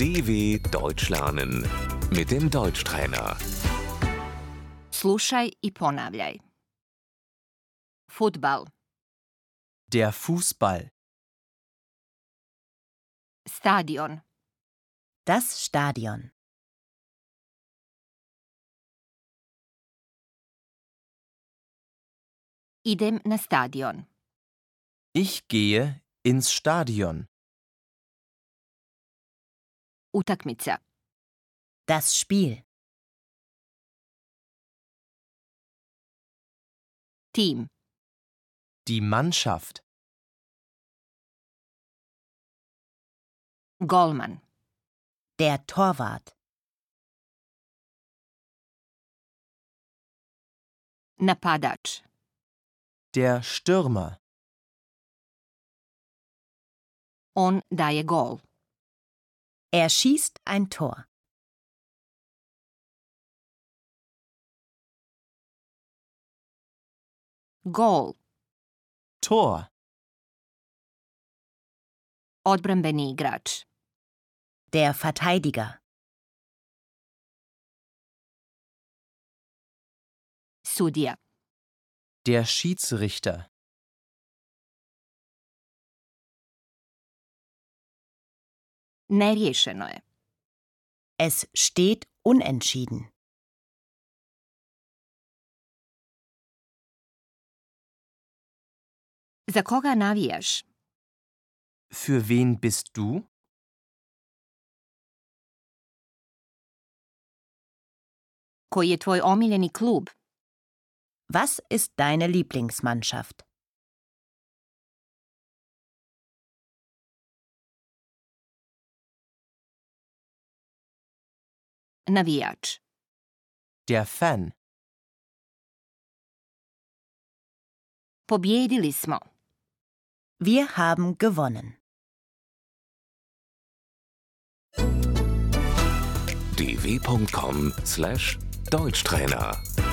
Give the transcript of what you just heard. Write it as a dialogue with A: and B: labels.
A: DW Deutsch lernen mit dem Deutschtrainer.
B: Slušaj i ponavljaj. Futbal,
C: Der Fußball,
B: stadion,
D: Das Stadion.
B: idem na stadion,
C: ich gehe ins Stadion,
B: utakmica,
D: Das Spiel.
B: tim,
C: die Mannschaft,
B: golman,
D: Der Torwart.
B: napadač,
C: der Stürmer,
B: on daje gol,
D: Er schießt ein Tor.
B: gol,
C: Tor,
B: odbrambeni igrač,
D: Der Verteidiger.
B: sudija,
C: der Schiedsrichter,
B: neriješeno je,
D: Es steht unentschieden.
B: za koga navijaš,
C: für wen bist du?
B: koji je tvoj omiljeni klub,
D: Was ist deine Lieblingsmannschaft?
B: navijač,
C: Der Fan,
B: pobjedili smo,
D: Wir haben gewonnen.
A: dw.com/deutschtrainer